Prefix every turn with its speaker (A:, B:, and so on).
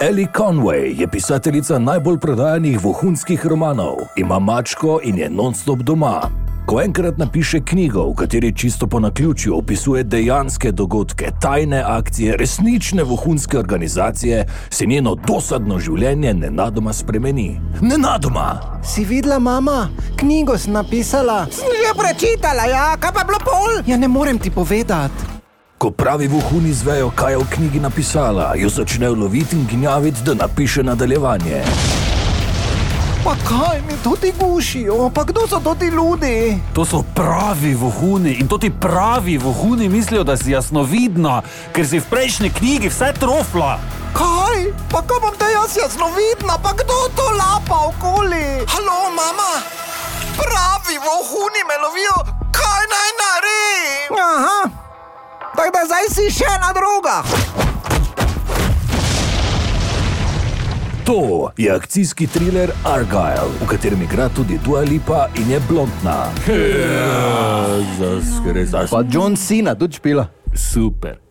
A: Ellie Conway je pisateljica najbolj prodajanih vohunskih romanov, ima mačko in je non-stop doma. Ko enkrat napiše knjigo, v kateri čisto po naključju opisuje dejanske dogodke, tajne akcije, resnične vohunske organizacije, se njeno dosadno življenje nenadoma spremeni. Nenadoma!
B: Si videla, mama? Knjigo si napisala.
C: Sem že prečitala, ja, kaj pa je bilo pol?
B: Ja, ne morem ti povedati.
A: Ko pravi vohuni izvejo, kaj je v knjigi napisala, jo začnejo loviti in gnjaviti, da napiše nadaljevanje.
B: Pa kaj mi tudi gušijo, pa kdo so to ti ljudje?
D: To so pravi vohuni in to ti pravi vohuni mislijo, da si jasnovidna, ker si v prejšnji knjigi vse trofla.
B: Kaj? Pa kaj bom te jaz jasno vidna, pa kdo to lapa okoli?
C: Halo, mama, pravi vohuni me lovijo, kaj naj naredim?
B: Aha, tako da zdaj si še ena druga.
A: To je akcijski triler Argyle, v katerem igra tudi Dua Lipa in je blondna.
E: Pa John Cena tudi špila.
D: Super.